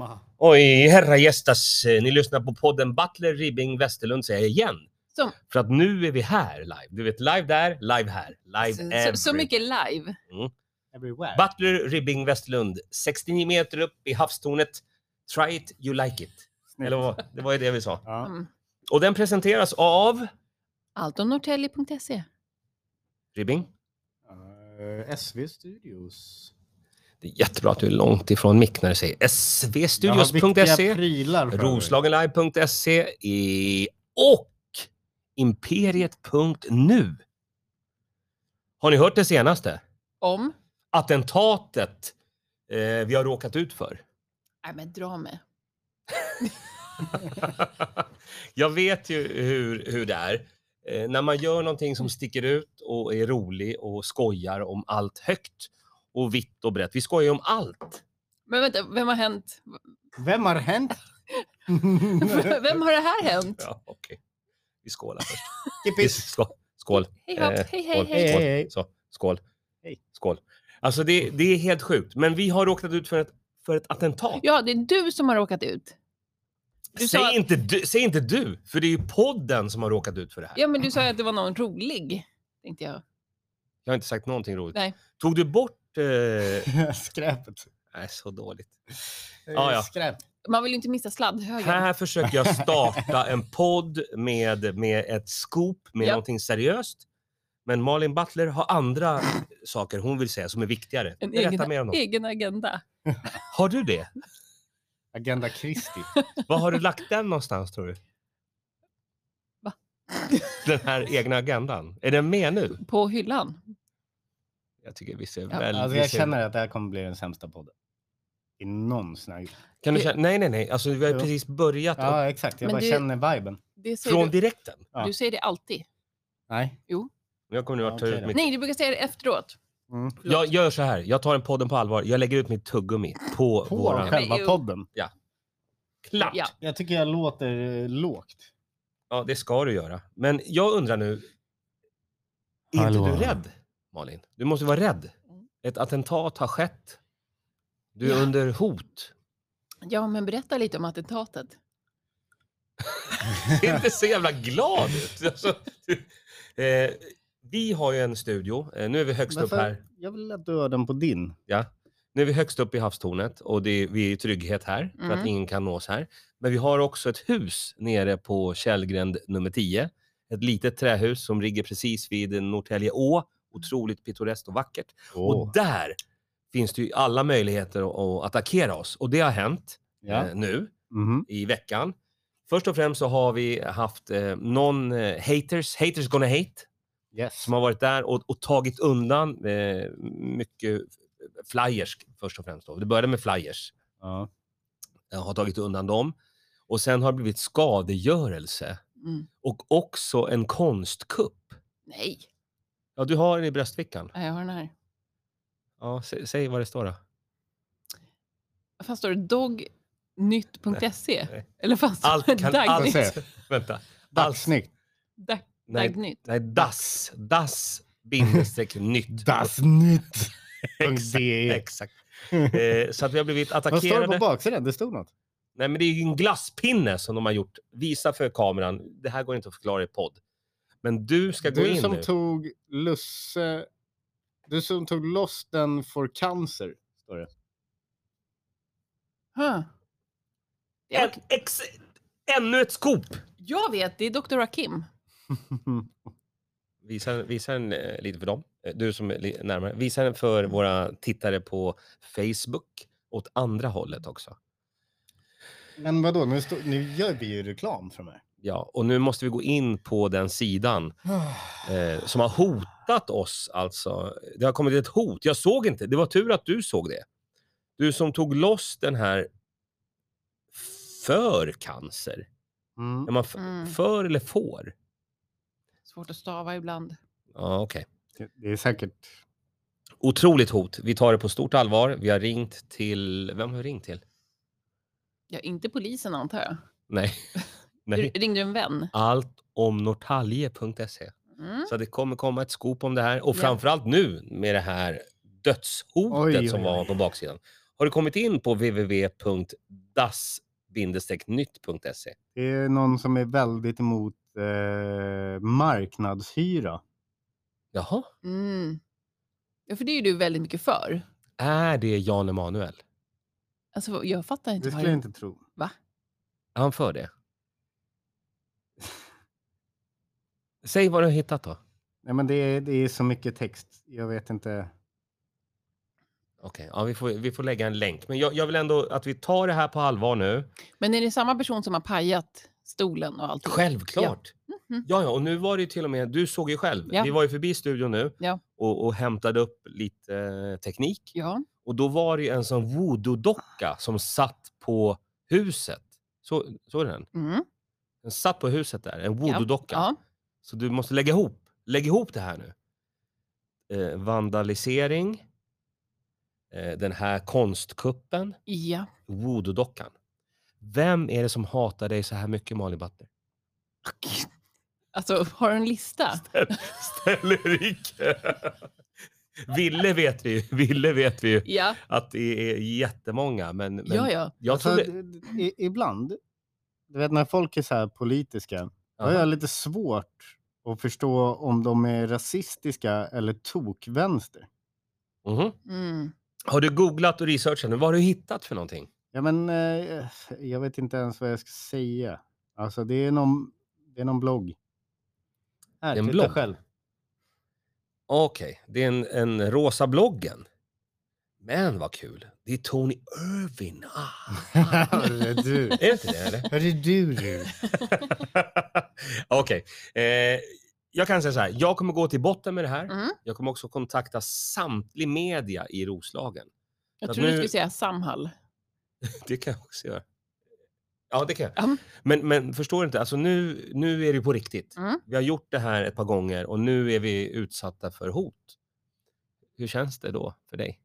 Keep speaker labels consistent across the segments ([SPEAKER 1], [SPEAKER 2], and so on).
[SPEAKER 1] Aha.
[SPEAKER 2] Oj, herra gästas, eh, ni lyssnar på podden Butler Ribbing Westerlund säger jag igen.
[SPEAKER 3] Så.
[SPEAKER 2] För att nu är vi här live. Du vet, live där, live här. Live
[SPEAKER 3] Så, så
[SPEAKER 2] every-
[SPEAKER 3] mycket live.
[SPEAKER 1] Everywhere.
[SPEAKER 2] Butler Ribbing Westerlund, 69 meter upp i havstornet. Try it, you like it.
[SPEAKER 1] Snyggt.
[SPEAKER 2] Eller vad? Det var ju det vi sa.
[SPEAKER 1] Ja.
[SPEAKER 3] Mm.
[SPEAKER 2] Och den presenteras av
[SPEAKER 3] Altonnortelli.se.
[SPEAKER 2] Ribbing.
[SPEAKER 1] Eh, SV Studios.
[SPEAKER 2] Det är jättebra att du är långt ifrån mick när du säger
[SPEAKER 1] Jag har viktiga
[SPEAKER 2] svstudios.se,
[SPEAKER 1] prylar för mig.
[SPEAKER 2] roslagenlive.se i- och imperiet.nu. Har ni hört det senaste?
[SPEAKER 3] Om?
[SPEAKER 2] Attentatet eh, vi har råkat ut för.
[SPEAKER 3] Nej men dra med.
[SPEAKER 2] jag vet ju hur, hur det är. Eh, när man gör någonting som sticker ut och är rolig och skojar om allt högt och vitt och brett. Vi skojar ju om allt.
[SPEAKER 3] Men vänta, vem har hänt?
[SPEAKER 1] Vem har hänt?
[SPEAKER 3] Vem har det här hänt?
[SPEAKER 2] Ja, okej. Vi skålar först. Vi
[SPEAKER 1] Kippis.
[SPEAKER 2] ska- Skål.
[SPEAKER 3] Hej hopp,
[SPEAKER 2] Eh,
[SPEAKER 3] hej hej
[SPEAKER 2] skål,
[SPEAKER 3] hej.
[SPEAKER 2] Skål.
[SPEAKER 1] Hej, hej.
[SPEAKER 2] Så, skål.
[SPEAKER 1] Hej.
[SPEAKER 2] skål. Alltså det, det är helt sjukt. Men vi har råkat ut för ett, för ett attentat.
[SPEAKER 3] Ja, det är du som har råkat ut. du sa
[SPEAKER 2] säg,
[SPEAKER 3] att-
[SPEAKER 2] inte du, säg inte du, för det är ju podden som har råkat ut för det här.
[SPEAKER 3] Ja, men du sa ju att det var någon rolig. Tänkte jag.
[SPEAKER 2] Jag har inte sagt någonting roligt.
[SPEAKER 3] Nej.
[SPEAKER 2] Tog du bort... Eh...
[SPEAKER 1] Skräpet.
[SPEAKER 2] Nej, så dåligt.
[SPEAKER 1] Det är
[SPEAKER 2] Ah, Ja, ja.
[SPEAKER 1] Skräp.
[SPEAKER 3] Man vill ju inte missa sladdhögen.
[SPEAKER 2] Här försöker jag starta en podd med, med ett scoop, med
[SPEAKER 3] Ja.
[SPEAKER 2] någonting seriöst. Men Malin Butler har andra saker hon vill säga som är viktigare.
[SPEAKER 3] En
[SPEAKER 2] Berätta mer om
[SPEAKER 3] egen, E-
[SPEAKER 2] dem.
[SPEAKER 3] egen agenda.
[SPEAKER 2] Har du det?
[SPEAKER 1] Agenda Christi.
[SPEAKER 2] Var har du lagt den någonstans tror du?
[SPEAKER 3] Va?
[SPEAKER 2] Den här egna agendan. Är den med nu?
[SPEAKER 3] På hyllan.
[SPEAKER 2] Jag tycker vi ser
[SPEAKER 3] Ja,
[SPEAKER 2] väldigt...
[SPEAKER 1] Alltså,
[SPEAKER 2] vi
[SPEAKER 1] jag
[SPEAKER 2] ser-
[SPEAKER 1] känner att det här kommer bli den sämsta podden. I någon snagg.
[SPEAKER 2] Kan du känna? Nej, nej, nej. Alltså, vi har ju
[SPEAKER 1] Jo.
[SPEAKER 2] precis börjat. upp
[SPEAKER 1] Ja, exakt. Jag
[SPEAKER 3] Men
[SPEAKER 1] bara
[SPEAKER 3] du-
[SPEAKER 1] känner viben.
[SPEAKER 3] Det säger
[SPEAKER 2] Från
[SPEAKER 3] du,
[SPEAKER 2] direkten.
[SPEAKER 1] Ja.
[SPEAKER 3] du säger det alltid.
[SPEAKER 1] Nej.
[SPEAKER 2] Men Jag kommer nu att ta
[SPEAKER 1] Okej
[SPEAKER 2] ut
[SPEAKER 1] då.
[SPEAKER 2] mitt...
[SPEAKER 3] Nej, du brukar säga det efteråt.
[SPEAKER 1] Mm.
[SPEAKER 2] Jag gör så här. Jag tar den podden på allvar. Jag lägger ut mitt tuggummi på,
[SPEAKER 1] På
[SPEAKER 2] våran...
[SPEAKER 1] själva
[SPEAKER 3] ju-
[SPEAKER 1] podden.
[SPEAKER 2] Klart!
[SPEAKER 3] Ja.
[SPEAKER 1] Jag tycker jag låter eh, lågt.
[SPEAKER 2] Ja, det ska du göra. Men jag undrar nu, är
[SPEAKER 1] Hallå.
[SPEAKER 2] inte du rädd, Malin? Du måste vara rädd. Ett attentat har skett. Du är
[SPEAKER 3] Mm. Ja.
[SPEAKER 2] under hot.
[SPEAKER 3] Ja, men berätta lite om attentatet.
[SPEAKER 2] Ser inte så jävla glad ut. Alltså, du, eh, vi har ju en studio. Eh, nu är vi högst upp här.
[SPEAKER 1] Varför? Jag vill att du har den på din.
[SPEAKER 2] Ja. Nu är vi högst upp i havstornet och det är, vi är i trygghet här för att
[SPEAKER 3] Mm.
[SPEAKER 2] ingen kan nå oss här. Men vi har också ett hus nere på Källgränd nummer 10. Ett litet trähus som ligger precis vid Norrtälje å. Otroligt pittoreskt och vackert. Och där finns det ju alla möjligheter att- att attackera oss. Och det har hänt
[SPEAKER 1] Ja.
[SPEAKER 2] eh, nu
[SPEAKER 1] Mhm.
[SPEAKER 2] i veckan. Först och främst så har vi haft eh, någon eh, haters, haters gonna hate,
[SPEAKER 1] Yes.
[SPEAKER 2] som har varit där och, och tagit undan eh, mycket flyers först och främst. Då. Det började med flyers,
[SPEAKER 1] Ja.
[SPEAKER 2] eh, har tagit undan dem. Och sen har det blivit skadegörelse
[SPEAKER 3] Mm.
[SPEAKER 2] och också en konstkupp.
[SPEAKER 3] Nej,
[SPEAKER 2] Ja, du har den i bröstfickan.
[SPEAKER 3] jag har den här.
[SPEAKER 2] Ja, sä, säg vad det står då.
[SPEAKER 3] Fan står det dognytt.se?
[SPEAKER 2] nej.
[SPEAKER 3] Eller fan
[SPEAKER 2] Allt
[SPEAKER 3] står det
[SPEAKER 2] kan-
[SPEAKER 1] Allt
[SPEAKER 3] dagnytt?
[SPEAKER 1] ser.
[SPEAKER 2] Vänta.
[SPEAKER 1] Allt snyggt.
[SPEAKER 3] Dag,
[SPEAKER 2] Nej,
[SPEAKER 3] dagnytt.
[SPEAKER 2] Nej, das. Das bindestreck nytt.
[SPEAKER 1] Das nytt.
[SPEAKER 2] Exakt.
[SPEAKER 1] .de.
[SPEAKER 2] Exakt. Eh, så att vi har blivit
[SPEAKER 1] E. Vad står det
[SPEAKER 2] attackerade.
[SPEAKER 1] på baksidan? Det stod något.
[SPEAKER 2] Nej, men det är ju en glasspinne som de har gjort. Visa för kameran. Det här går inte att förklara i podd. Men du ska gå
[SPEAKER 1] Du
[SPEAKER 2] in
[SPEAKER 1] som
[SPEAKER 2] nu.
[SPEAKER 1] tog Lusse... Du som tog loss den for cancer. Står det.
[SPEAKER 3] Huh.
[SPEAKER 2] En,
[SPEAKER 3] Jag,
[SPEAKER 2] ex, ännu ett skop!
[SPEAKER 3] jag vet, det är Dr. Rakim.
[SPEAKER 2] Visa, visa den eh, lite för dem. Eh, Du som är li- närmare. Visa den för våra tittare på Facebook. Åt andra hållet också.
[SPEAKER 1] Men vadå, nu, stå, nu gör vi ju reklam för mig.
[SPEAKER 2] Ja, och nu måste vi gå in på den sidan eh, som har hotat oss. Alltså. Det har kommit ett hot. Jag såg inte. Det var tur att du såg det. Du som tog loss den här för cancer.
[SPEAKER 1] Mm.
[SPEAKER 2] Är man f-
[SPEAKER 3] Mm.
[SPEAKER 2] för eller får?
[SPEAKER 3] Svårt att stava ibland.
[SPEAKER 2] Ja, okej.
[SPEAKER 1] Det- Det är säkert...
[SPEAKER 2] Otroligt hot. Vi tar det på stort allvar. Vi har ringt till... Vem har vi ringt till?
[SPEAKER 3] Ja, inte polisen antar jag.
[SPEAKER 2] Nej.
[SPEAKER 3] Du,
[SPEAKER 2] Nej.
[SPEAKER 3] ringde du en vän?
[SPEAKER 2] Allt om Norrtälje.se.
[SPEAKER 3] Mm.
[SPEAKER 2] Så det kommer komma ett skop om det här. Och
[SPEAKER 3] Ja.
[SPEAKER 2] framförallt nu med det här dödshotet
[SPEAKER 1] Oj, oj,
[SPEAKER 2] som
[SPEAKER 1] oj.
[SPEAKER 2] var på baksidan. har du kommit in på www.das-nytt.se?
[SPEAKER 1] Det är någon som är väldigt emot eh, marknadshyra.
[SPEAKER 2] Jaha,
[SPEAKER 3] Mm. Ja, för det är ju du väldigt mycket för.
[SPEAKER 2] är det Jan Emanuel?
[SPEAKER 3] Alltså, jag fattar inte.
[SPEAKER 1] Det
[SPEAKER 3] vad
[SPEAKER 1] skulle jag inte tro.
[SPEAKER 2] Är han för det? Säg vad du har hittat då.
[SPEAKER 1] Nej, men det, är, det är så mycket text. Jag vet inte.
[SPEAKER 2] Okej, ja, vi, får, vi får lägga en länk. Men jag, jag vill ändå att vi tar det här på allvar nu.
[SPEAKER 3] Men är det samma person som har pajat stolen och allt?
[SPEAKER 2] Självklart! Ja.
[SPEAKER 3] Mhm.
[SPEAKER 2] ja, och nu var det ju till och med, du såg ju själv,
[SPEAKER 3] Ja.
[SPEAKER 2] vi var ju förbi studion nu
[SPEAKER 3] Ja.
[SPEAKER 2] och, och hämtade upp lite eh, teknik.
[SPEAKER 3] Ja.
[SPEAKER 2] Och då var det ju en sån voodoo-docka som satt på huset. Så, såg du den?
[SPEAKER 3] Mm.
[SPEAKER 2] Den satt på huset där, en voodoo-docka.
[SPEAKER 3] ja.
[SPEAKER 2] Så du måste lägga ihop, lägg ihop det här nu. Eh, vandalisering, eh, den här konstkuppen,
[SPEAKER 3] Ja.
[SPEAKER 2] voodoo-dockan. Vem är det som hatar dig så här mycket, Malin Batter?
[SPEAKER 3] Alltså, har du en lista?
[SPEAKER 2] Ställ Ulrike! Ville vet vi ju, Ville vet vi ju
[SPEAKER 3] Ja,
[SPEAKER 2] att det är jättemånga, men, men
[SPEAKER 3] ja, ja.
[SPEAKER 2] jag
[SPEAKER 1] Alltså,
[SPEAKER 2] tror det...
[SPEAKER 1] d- d- i, ibland, du vet när folk är så här politiska, då har
[SPEAKER 2] Jaha.
[SPEAKER 1] jag lite svårt att förstå om de är rasistiska eller tokvänster.
[SPEAKER 2] Mhm.
[SPEAKER 3] Mm.
[SPEAKER 2] Har du googlat och researchat nu? Vad har du hittat för någonting?
[SPEAKER 1] Ja, men, eh, jag vet inte ens vad jag ska säga. Alltså, det är någon, det är någon blogg. Här,
[SPEAKER 2] Det är en
[SPEAKER 1] titta
[SPEAKER 2] blogg.
[SPEAKER 1] själv.
[SPEAKER 2] Okej, det är en, en rosa bloggen. Men vad kul. Det är Tony Irving. Ah.
[SPEAKER 1] Hörru du.
[SPEAKER 2] Är det inte det eller?
[SPEAKER 1] Hörru du, du.
[SPEAKER 2] Okej. Eh, jag kan säga så här. Jag kommer gå till botten med det här.
[SPEAKER 3] Mm.
[SPEAKER 2] Jag kommer också kontakta samtlig media i Roslagen. Så
[SPEAKER 3] Jag
[SPEAKER 2] att
[SPEAKER 3] trodde
[SPEAKER 2] nu-
[SPEAKER 3] du skulle säga Samhall.
[SPEAKER 2] Det kan jag också göra. Ja, det kan jag.
[SPEAKER 3] Mm.
[SPEAKER 2] Men, men förstår du inte? Alltså nu, nu är det på riktigt.
[SPEAKER 3] Mm.
[SPEAKER 2] Vi har gjort det här ett par gånger och nu är vi utsatta för hot. Hur känns det då för dig?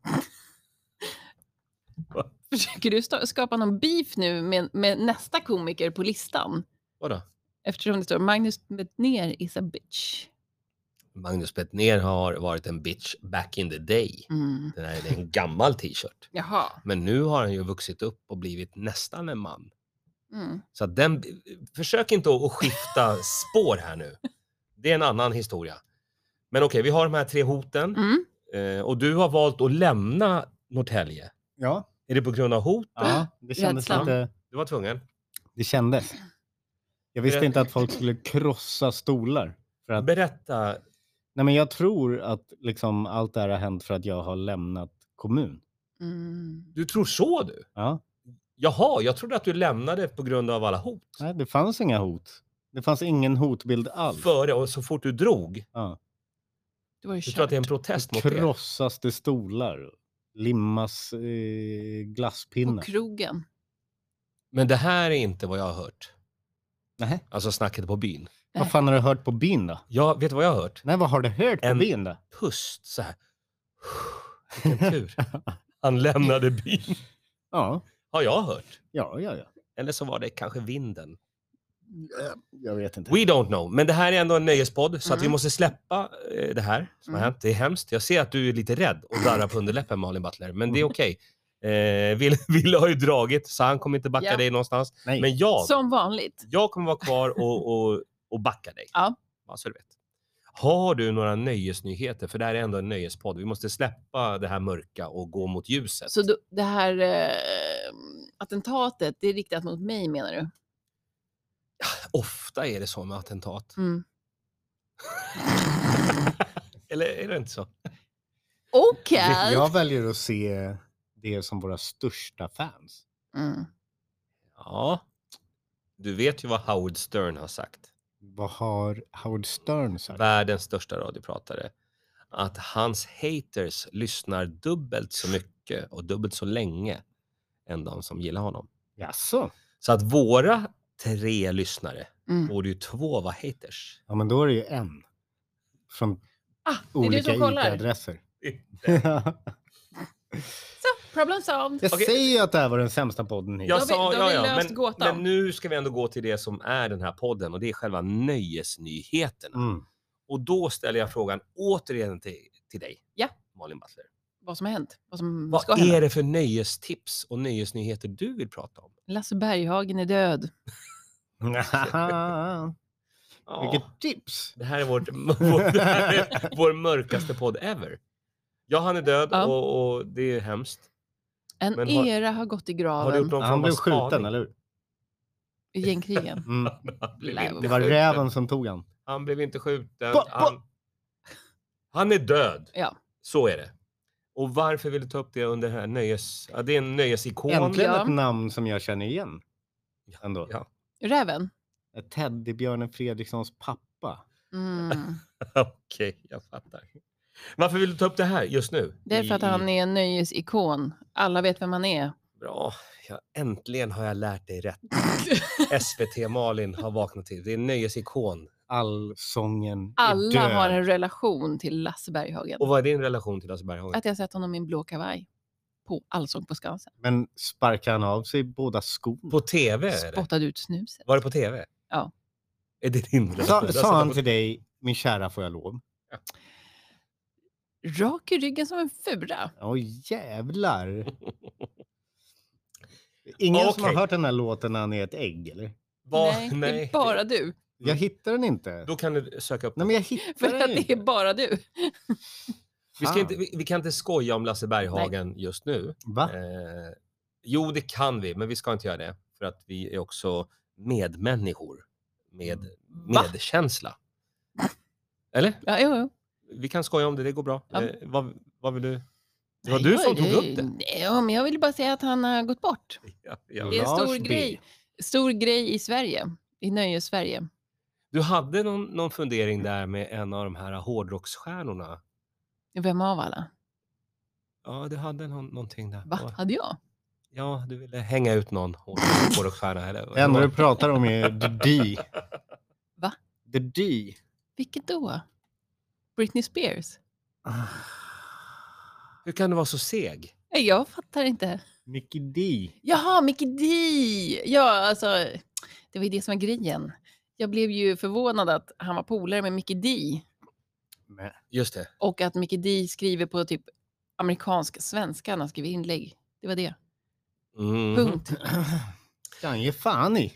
[SPEAKER 3] Försöker du sta- skapa någon beef nu med, med nästa komiker på listan?
[SPEAKER 2] Vadå?
[SPEAKER 3] Eftersom det står Magnus Betnér is a bitch.
[SPEAKER 2] Magnus Bettner har varit en bitch back in the day.
[SPEAKER 3] Mm.
[SPEAKER 2] Den här är en gammal t-shirt.
[SPEAKER 3] Jaha.
[SPEAKER 2] Men nu har han ju vuxit upp och blivit nästan en man.
[SPEAKER 3] Mm.
[SPEAKER 2] Så att den, försök inte att att skifta spår här nu. Det är en annan historia. Men okej, vi har de här tre hoten.
[SPEAKER 3] Mm.
[SPEAKER 2] Eh, och du har valt att lämna Norrtälje.
[SPEAKER 1] Ja,
[SPEAKER 2] Är det på grund av hot?
[SPEAKER 1] ja, det kändes
[SPEAKER 3] Rädslan.
[SPEAKER 1] lite...
[SPEAKER 2] Du var tvungen.
[SPEAKER 1] Det kändes. Jag visste
[SPEAKER 2] Ber-
[SPEAKER 1] inte att folk skulle krossa stolar. För att,
[SPEAKER 2] Berätta.
[SPEAKER 1] nej men jag tror att liksom allt det här har hänt för att jag har lämnat kommun.
[SPEAKER 3] Mm.
[SPEAKER 2] Du tror så du?
[SPEAKER 1] Ja.
[SPEAKER 2] Jaha, jag trodde att du lämnade på grund av alla hot.
[SPEAKER 1] Nej, det fanns inga hot. Det fanns ingen hotbild alls.
[SPEAKER 2] Före och så fort du drog.
[SPEAKER 1] Ja.
[SPEAKER 3] Du var ju
[SPEAKER 2] Du tror att det är en protest mot det?
[SPEAKER 1] Krossas det stolar? Limmas eh,
[SPEAKER 3] på
[SPEAKER 1] glasspinnar?
[SPEAKER 3] krogen.
[SPEAKER 2] Men det här är inte vad jag har hört.
[SPEAKER 1] Nej.
[SPEAKER 2] Alltså snacket på byn.
[SPEAKER 1] Vad fan har du hört på byn då?
[SPEAKER 2] Jag vet du vad jag har hört?
[SPEAKER 1] Nej, vad har du hört på
[SPEAKER 2] En-
[SPEAKER 1] byn då?
[SPEAKER 2] Pust så här. Vilken tur. Han lämnade byn.
[SPEAKER 1] Ja,
[SPEAKER 2] Har jag hört.
[SPEAKER 1] ja, ja. ja.
[SPEAKER 2] Eller så var det kanske vinden.
[SPEAKER 1] Jag vet inte.
[SPEAKER 2] We don't know. Men det här är ändå en nöjespodd, så att vi
[SPEAKER 3] Mm.
[SPEAKER 2] måste släppa eh, det här som har
[SPEAKER 3] Mm.
[SPEAKER 2] hänt. Det är hemskt. Jag ser att du är lite rädd och darrar på underläppen, Malin Butler. Men
[SPEAKER 3] Mm.
[SPEAKER 2] det är okej. Eh, Ville Ville har ju dragit, så han kommer inte backa
[SPEAKER 3] Ja.
[SPEAKER 2] dig någonstans.
[SPEAKER 1] Nej.
[SPEAKER 2] Men jag,
[SPEAKER 3] Som vanligt.
[SPEAKER 2] jag kommer vara kvar och, och, och backa dig.
[SPEAKER 3] Ja.
[SPEAKER 2] Bara så du vet. Har du några nöjesnyheter? För det här är ändå en nöjespodd. Vi måste släppa det här mörka och gå mot ljuset.
[SPEAKER 3] Så då, det här eh, attentatet, det är riktat mot mig menar du?
[SPEAKER 2] Ofta är det så med attentat.
[SPEAKER 3] Mm.
[SPEAKER 2] Eller är det inte så?
[SPEAKER 3] Okej.
[SPEAKER 1] Jag väljer att se det som våra största fans.
[SPEAKER 3] Mm.
[SPEAKER 2] Ja. Du vet ju vad Howard Stern har sagt.
[SPEAKER 1] Vad har Howard Stern sagt?
[SPEAKER 2] världens största radiopratare, att hans haters lyssnar dubbelt så mycket och dubbelt så länge än de som gillar honom.
[SPEAKER 1] Jaså?
[SPEAKER 2] Så att våra tre lyssnare
[SPEAKER 3] Mm.
[SPEAKER 2] borde ju två vara haters.
[SPEAKER 1] Ja, men då är det ju en. Från
[SPEAKER 3] Ah, det är du
[SPEAKER 1] olika
[SPEAKER 3] som kollar.
[SPEAKER 1] IP-adresser.
[SPEAKER 3] Så, problem solved.
[SPEAKER 1] jag
[SPEAKER 2] Okej.
[SPEAKER 1] säger ju att det här var den sämsta podden
[SPEAKER 2] Jag
[SPEAKER 1] hittills.
[SPEAKER 3] vi-
[SPEAKER 2] sa,
[SPEAKER 3] då har
[SPEAKER 2] ja,
[SPEAKER 3] vi
[SPEAKER 2] ja,
[SPEAKER 3] löst
[SPEAKER 2] men,
[SPEAKER 3] gåtan.
[SPEAKER 2] men nu ska vi ändå gå till det som är den här podden och det är själva nöjesnyheterna.
[SPEAKER 1] Mm.
[SPEAKER 2] Och då ställer jag frågan återigen till, till dig,
[SPEAKER 3] Ja.
[SPEAKER 2] Malin Butler.
[SPEAKER 3] vad som har hänt. Vad som ska
[SPEAKER 2] Vad
[SPEAKER 3] hända.
[SPEAKER 2] är det för nöjestips och nöjesnyheter du vill prata om?
[SPEAKER 3] Lasse Berghagen är död.
[SPEAKER 2] Ja,
[SPEAKER 1] Vilket tips!
[SPEAKER 2] det här är vårt, vår, det här är vår mörkaste podd ever. Ja, han är död
[SPEAKER 3] Ja.
[SPEAKER 2] och, och det är hemskt.
[SPEAKER 3] En
[SPEAKER 2] Men har-
[SPEAKER 3] era har gått i
[SPEAKER 2] Har du
[SPEAKER 3] graven
[SPEAKER 2] gjort någon
[SPEAKER 1] Han
[SPEAKER 2] form av
[SPEAKER 1] blev skjuten,
[SPEAKER 2] spaning?
[SPEAKER 1] eller hur?
[SPEAKER 3] i gängkrigen.
[SPEAKER 1] Mm.
[SPEAKER 2] Han blev
[SPEAKER 3] Nej,
[SPEAKER 2] inte
[SPEAKER 1] Det var
[SPEAKER 2] skjuten.
[SPEAKER 1] räven som tog han.
[SPEAKER 2] Han blev inte skjuten.
[SPEAKER 1] Ba- ba-
[SPEAKER 2] Han, han är död.
[SPEAKER 3] Ja.
[SPEAKER 2] Så är det. Och varför vill du ta upp det under den här nöjes... Ja, det är en nöjesikon.
[SPEAKER 1] Äntligen
[SPEAKER 3] Ja.
[SPEAKER 1] ett namn som jag känner igen. Ändå.
[SPEAKER 2] Ja.
[SPEAKER 3] Räven.
[SPEAKER 1] Teddybjörnen Fredrikssons pappa.
[SPEAKER 3] Mm.
[SPEAKER 2] Okej, jag fattar. Varför vill du ta upp det här just nu? Mm.
[SPEAKER 3] Det är för att
[SPEAKER 2] I-
[SPEAKER 3] han är en nöjesikon. Alla vet vem han är.
[SPEAKER 2] Bra. Ja, äntligen har jag lärt dig rätt. SVT Malin har vaknat till. Det är en nöjesikon.
[SPEAKER 1] Allsången är
[SPEAKER 3] Alla
[SPEAKER 1] död.
[SPEAKER 3] har en relation till Lasse Berghagen.
[SPEAKER 2] Och vad är din relation till Lasse Berghagen?
[SPEAKER 3] Att jag sett honom i en blå kavaj på Allsång på Skansen.
[SPEAKER 1] Men sparkar han av sig båda skorna?
[SPEAKER 2] På TV? är det.
[SPEAKER 3] Spottade ut snuset.
[SPEAKER 2] Var det på TV?
[SPEAKER 3] Ja.
[SPEAKER 2] Är det din relation? Alltså,
[SPEAKER 1] Sa,
[SPEAKER 2] Jag
[SPEAKER 1] sa
[SPEAKER 2] satt
[SPEAKER 1] han
[SPEAKER 2] på-
[SPEAKER 1] till dig, min kära får jag lov?
[SPEAKER 3] Rak i ryggen som en fura.
[SPEAKER 1] Åh jävlar! Ingen som har
[SPEAKER 2] Okej.
[SPEAKER 1] hört den här låten när han är ett ägg eller?
[SPEAKER 2] Vad-
[SPEAKER 3] nej, det är bara du.
[SPEAKER 1] Jag hittar den inte.
[SPEAKER 2] Mm. Då kan du söka upp
[SPEAKER 1] Nej
[SPEAKER 2] den.
[SPEAKER 1] men jag hittar
[SPEAKER 3] För
[SPEAKER 1] den
[SPEAKER 3] att
[SPEAKER 1] ju
[SPEAKER 3] det är
[SPEAKER 1] inte.
[SPEAKER 3] bara du.
[SPEAKER 2] Vi, ska
[SPEAKER 1] Fan.
[SPEAKER 2] inte, vi, vi kan inte skoja om Lasse Berghagen just nu.
[SPEAKER 1] Va?
[SPEAKER 2] Eh, jo, det kan vi, men vi ska inte göra det. För att vi är också medmänniskor med
[SPEAKER 1] Mm.
[SPEAKER 3] Va?
[SPEAKER 2] medkänsla. Eller?
[SPEAKER 3] Ja, jo, jo.
[SPEAKER 2] Vi kan skoja om det, det går bra.
[SPEAKER 3] Ja.
[SPEAKER 2] Eh, vad, vad vill du? Det var du som tog upp det.
[SPEAKER 3] Ja, men jag ville bara säga att han har gått bort.
[SPEAKER 2] Ja, ja.
[SPEAKER 3] Det är en
[SPEAKER 1] Lars
[SPEAKER 3] stor
[SPEAKER 1] B.
[SPEAKER 3] grej. Stor grej i Sverige. I nöjes-Sverige.
[SPEAKER 2] Du hade någon, någon fundering där med en av de här hårdrocksstjärnorna.
[SPEAKER 3] Vem av alla?
[SPEAKER 2] Ja, du hade någon, någonting där.
[SPEAKER 3] Va? Hade jag?
[SPEAKER 2] Ja, du ville hänga ut någon hård- hårdrocksstjärna. Eller?
[SPEAKER 1] Det enda du pratar om är The D.
[SPEAKER 3] Va?
[SPEAKER 1] The D.
[SPEAKER 3] Vilket då? Britney Spears?
[SPEAKER 2] Ah. Hur kan du vara så seg?
[SPEAKER 3] Nej, Jag fattar inte.
[SPEAKER 1] Mickey D.
[SPEAKER 3] Jaha, Mickey D! Ja, alltså, det var ju det som var grejen. Jag blev ju förvånad att han var polare med Mickey D
[SPEAKER 1] Nej.
[SPEAKER 2] Just det.
[SPEAKER 3] och att Mickey D skriver på typ amerikansk svenska när han skriver inlägg. Det var det.
[SPEAKER 2] Mhm.
[SPEAKER 3] Punkt.
[SPEAKER 1] Kan ge fan i.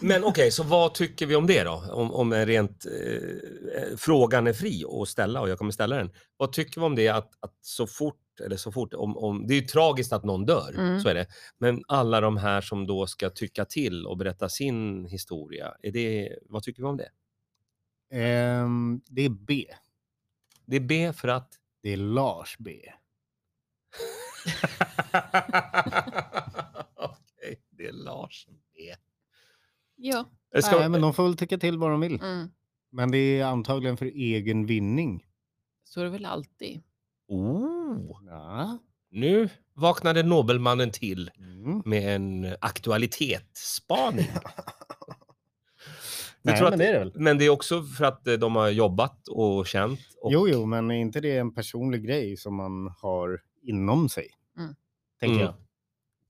[SPEAKER 2] Men okej, så vad tycker vi om det då? Om, om en rent, eh, eh, frågan är fri att ställa och jag kommer ställa den. Vad tycker vi om det att, att så fort, eller så fort, om, om, det är ju tragiskt att någon dör,
[SPEAKER 3] Mm.
[SPEAKER 2] så är det. Men alla de här som då ska tycka till och berätta sin historia, är det, vad tycker vi om det?
[SPEAKER 1] Ehm, det är B.
[SPEAKER 2] Det är B för att...
[SPEAKER 1] Det är Lars B.
[SPEAKER 2] okej, det är Lars B.
[SPEAKER 3] Ja.
[SPEAKER 2] Ska,
[SPEAKER 1] Nej, men de får väl tycka till vad de vill.
[SPEAKER 3] Mm.
[SPEAKER 1] Men det är antagligen för egen vinning.
[SPEAKER 3] Så är det väl alltid.
[SPEAKER 2] oh,
[SPEAKER 1] Ja.
[SPEAKER 2] nu vaknade Nobelmannen till.
[SPEAKER 1] Mm.
[SPEAKER 2] med en aktualitetsspaning. Du
[SPEAKER 1] Nej,
[SPEAKER 2] tror
[SPEAKER 1] men
[SPEAKER 2] att-
[SPEAKER 1] det är det väl.
[SPEAKER 2] Men det är också för att eh, de har jobbat och känt. Och, Mm.
[SPEAKER 1] Jo, jo, men är inte det en personlig grej som man har inom sig?
[SPEAKER 3] Mm.
[SPEAKER 1] Tänker
[SPEAKER 2] Mm.
[SPEAKER 1] jag.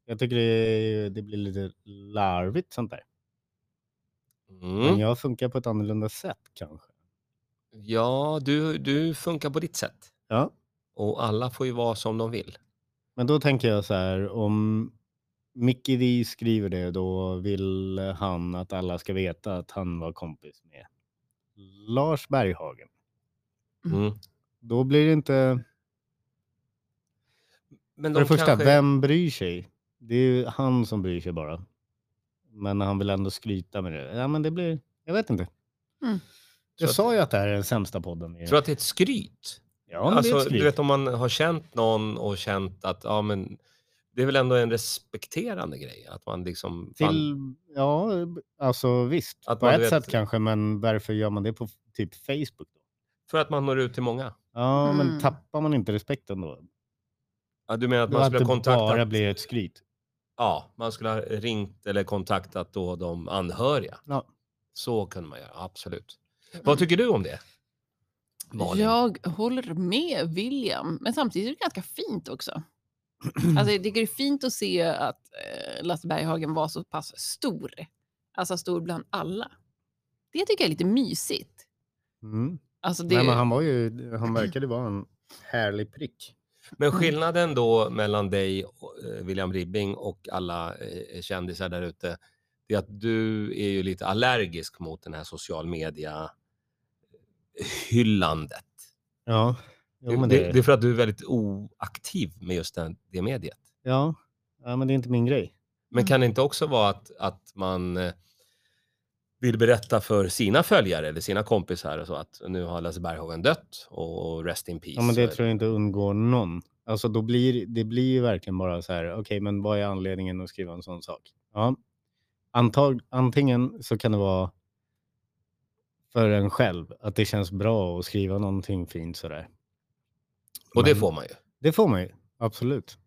[SPEAKER 1] Jag tycker det, det blir lite larvigt sånt där. Men
[SPEAKER 2] Mm.
[SPEAKER 1] jag funkar på ett annorlunda sätt kanske.
[SPEAKER 2] Ja, du, du funkar på ditt sätt.
[SPEAKER 1] Ja.
[SPEAKER 2] Och alla får ju vara som de vill.
[SPEAKER 1] Men då tänker jag så här, om Mickey D skriver det, då vill han att alla ska veta att han var kompis med Lars Berghagen.
[SPEAKER 3] Mm.
[SPEAKER 2] Mm.
[SPEAKER 1] Då blir det inte...
[SPEAKER 2] Men
[SPEAKER 1] För det första,
[SPEAKER 2] kanske-
[SPEAKER 1] vem bryr sig? Det är ju han som bryr sig bara. Men han vill ändå skryta med det. Ja, men det blir... Jag vet inte.
[SPEAKER 3] Mm.
[SPEAKER 2] Så
[SPEAKER 1] Jag
[SPEAKER 2] att-
[SPEAKER 1] sa ju att det här är den sämsta podden. i-
[SPEAKER 2] Tror att det är ett skryt?
[SPEAKER 1] Ja, men det är
[SPEAKER 2] alltså,
[SPEAKER 1] ett skryt.
[SPEAKER 2] du vet om man har känt någon och känt att, ja men, det är väl ändå en respekterande grej? Att man liksom... fan-
[SPEAKER 1] Till, ja, alltså visst.
[SPEAKER 2] Att
[SPEAKER 1] på
[SPEAKER 2] man
[SPEAKER 1] ett
[SPEAKER 2] vet-
[SPEAKER 1] sätt kanske, men varför gör man det på typ Facebook? Då?
[SPEAKER 2] för att man når ut till många?
[SPEAKER 1] Ja, men
[SPEAKER 3] Mm.
[SPEAKER 1] tappar man inte respekten då?
[SPEAKER 2] Ja, du menar att
[SPEAKER 1] Då
[SPEAKER 2] man
[SPEAKER 1] att
[SPEAKER 2] skulle
[SPEAKER 1] det
[SPEAKER 2] ha kontaktat...
[SPEAKER 1] bara blir ett skryt.
[SPEAKER 2] Ja, man skulle ha ringt eller kontaktat då de anhöriga.
[SPEAKER 1] Ja.
[SPEAKER 2] Så kunde man göra, absolut. Vad tycker du om det? Malin?
[SPEAKER 3] Jag håller med William, men samtidigt är det ganska fint också. Alltså, jag tycker det är fint att se att eh, Lasse Berghagen var så pass stor. Alltså stor bland alla. Det tycker jag är lite mysigt.
[SPEAKER 1] Mm.
[SPEAKER 3] Alltså, det,
[SPEAKER 1] Nej, men han, var ju, han verkade vara en härlig prick.
[SPEAKER 2] Men
[SPEAKER 3] Mm.
[SPEAKER 2] skillnaden då mellan dig, och, eh, William Ribbing och alla eh, kändisar där ute, det är att du är ju lite allergisk mot den här social media eh, hyllandet.
[SPEAKER 1] Ja, jo, men
[SPEAKER 2] det,
[SPEAKER 1] det,
[SPEAKER 2] det är för att du är väldigt oaktiv med just den, det mediet.
[SPEAKER 1] ja. ja, men det är inte min grej.
[SPEAKER 2] Men
[SPEAKER 3] Mm.
[SPEAKER 2] kan det inte också vara att, att man eh, vill berätta för sina följare eller sina kompisar och så att nu har Lasse Berghagen dött och och rest in peace.
[SPEAKER 1] Ja, men
[SPEAKER 2] och-
[SPEAKER 1] det tror jag inte undgår någon. Alltså då blir det blir ju verkligen bara så här, okej, men vad är anledningen att skriva en sån sak? Ja, antag, antingen så kan det vara för en själv, att det känns bra att skriva någonting fint sådär.
[SPEAKER 2] och det
[SPEAKER 1] Men-
[SPEAKER 2] får man ju.
[SPEAKER 1] Det får man ju, absolut.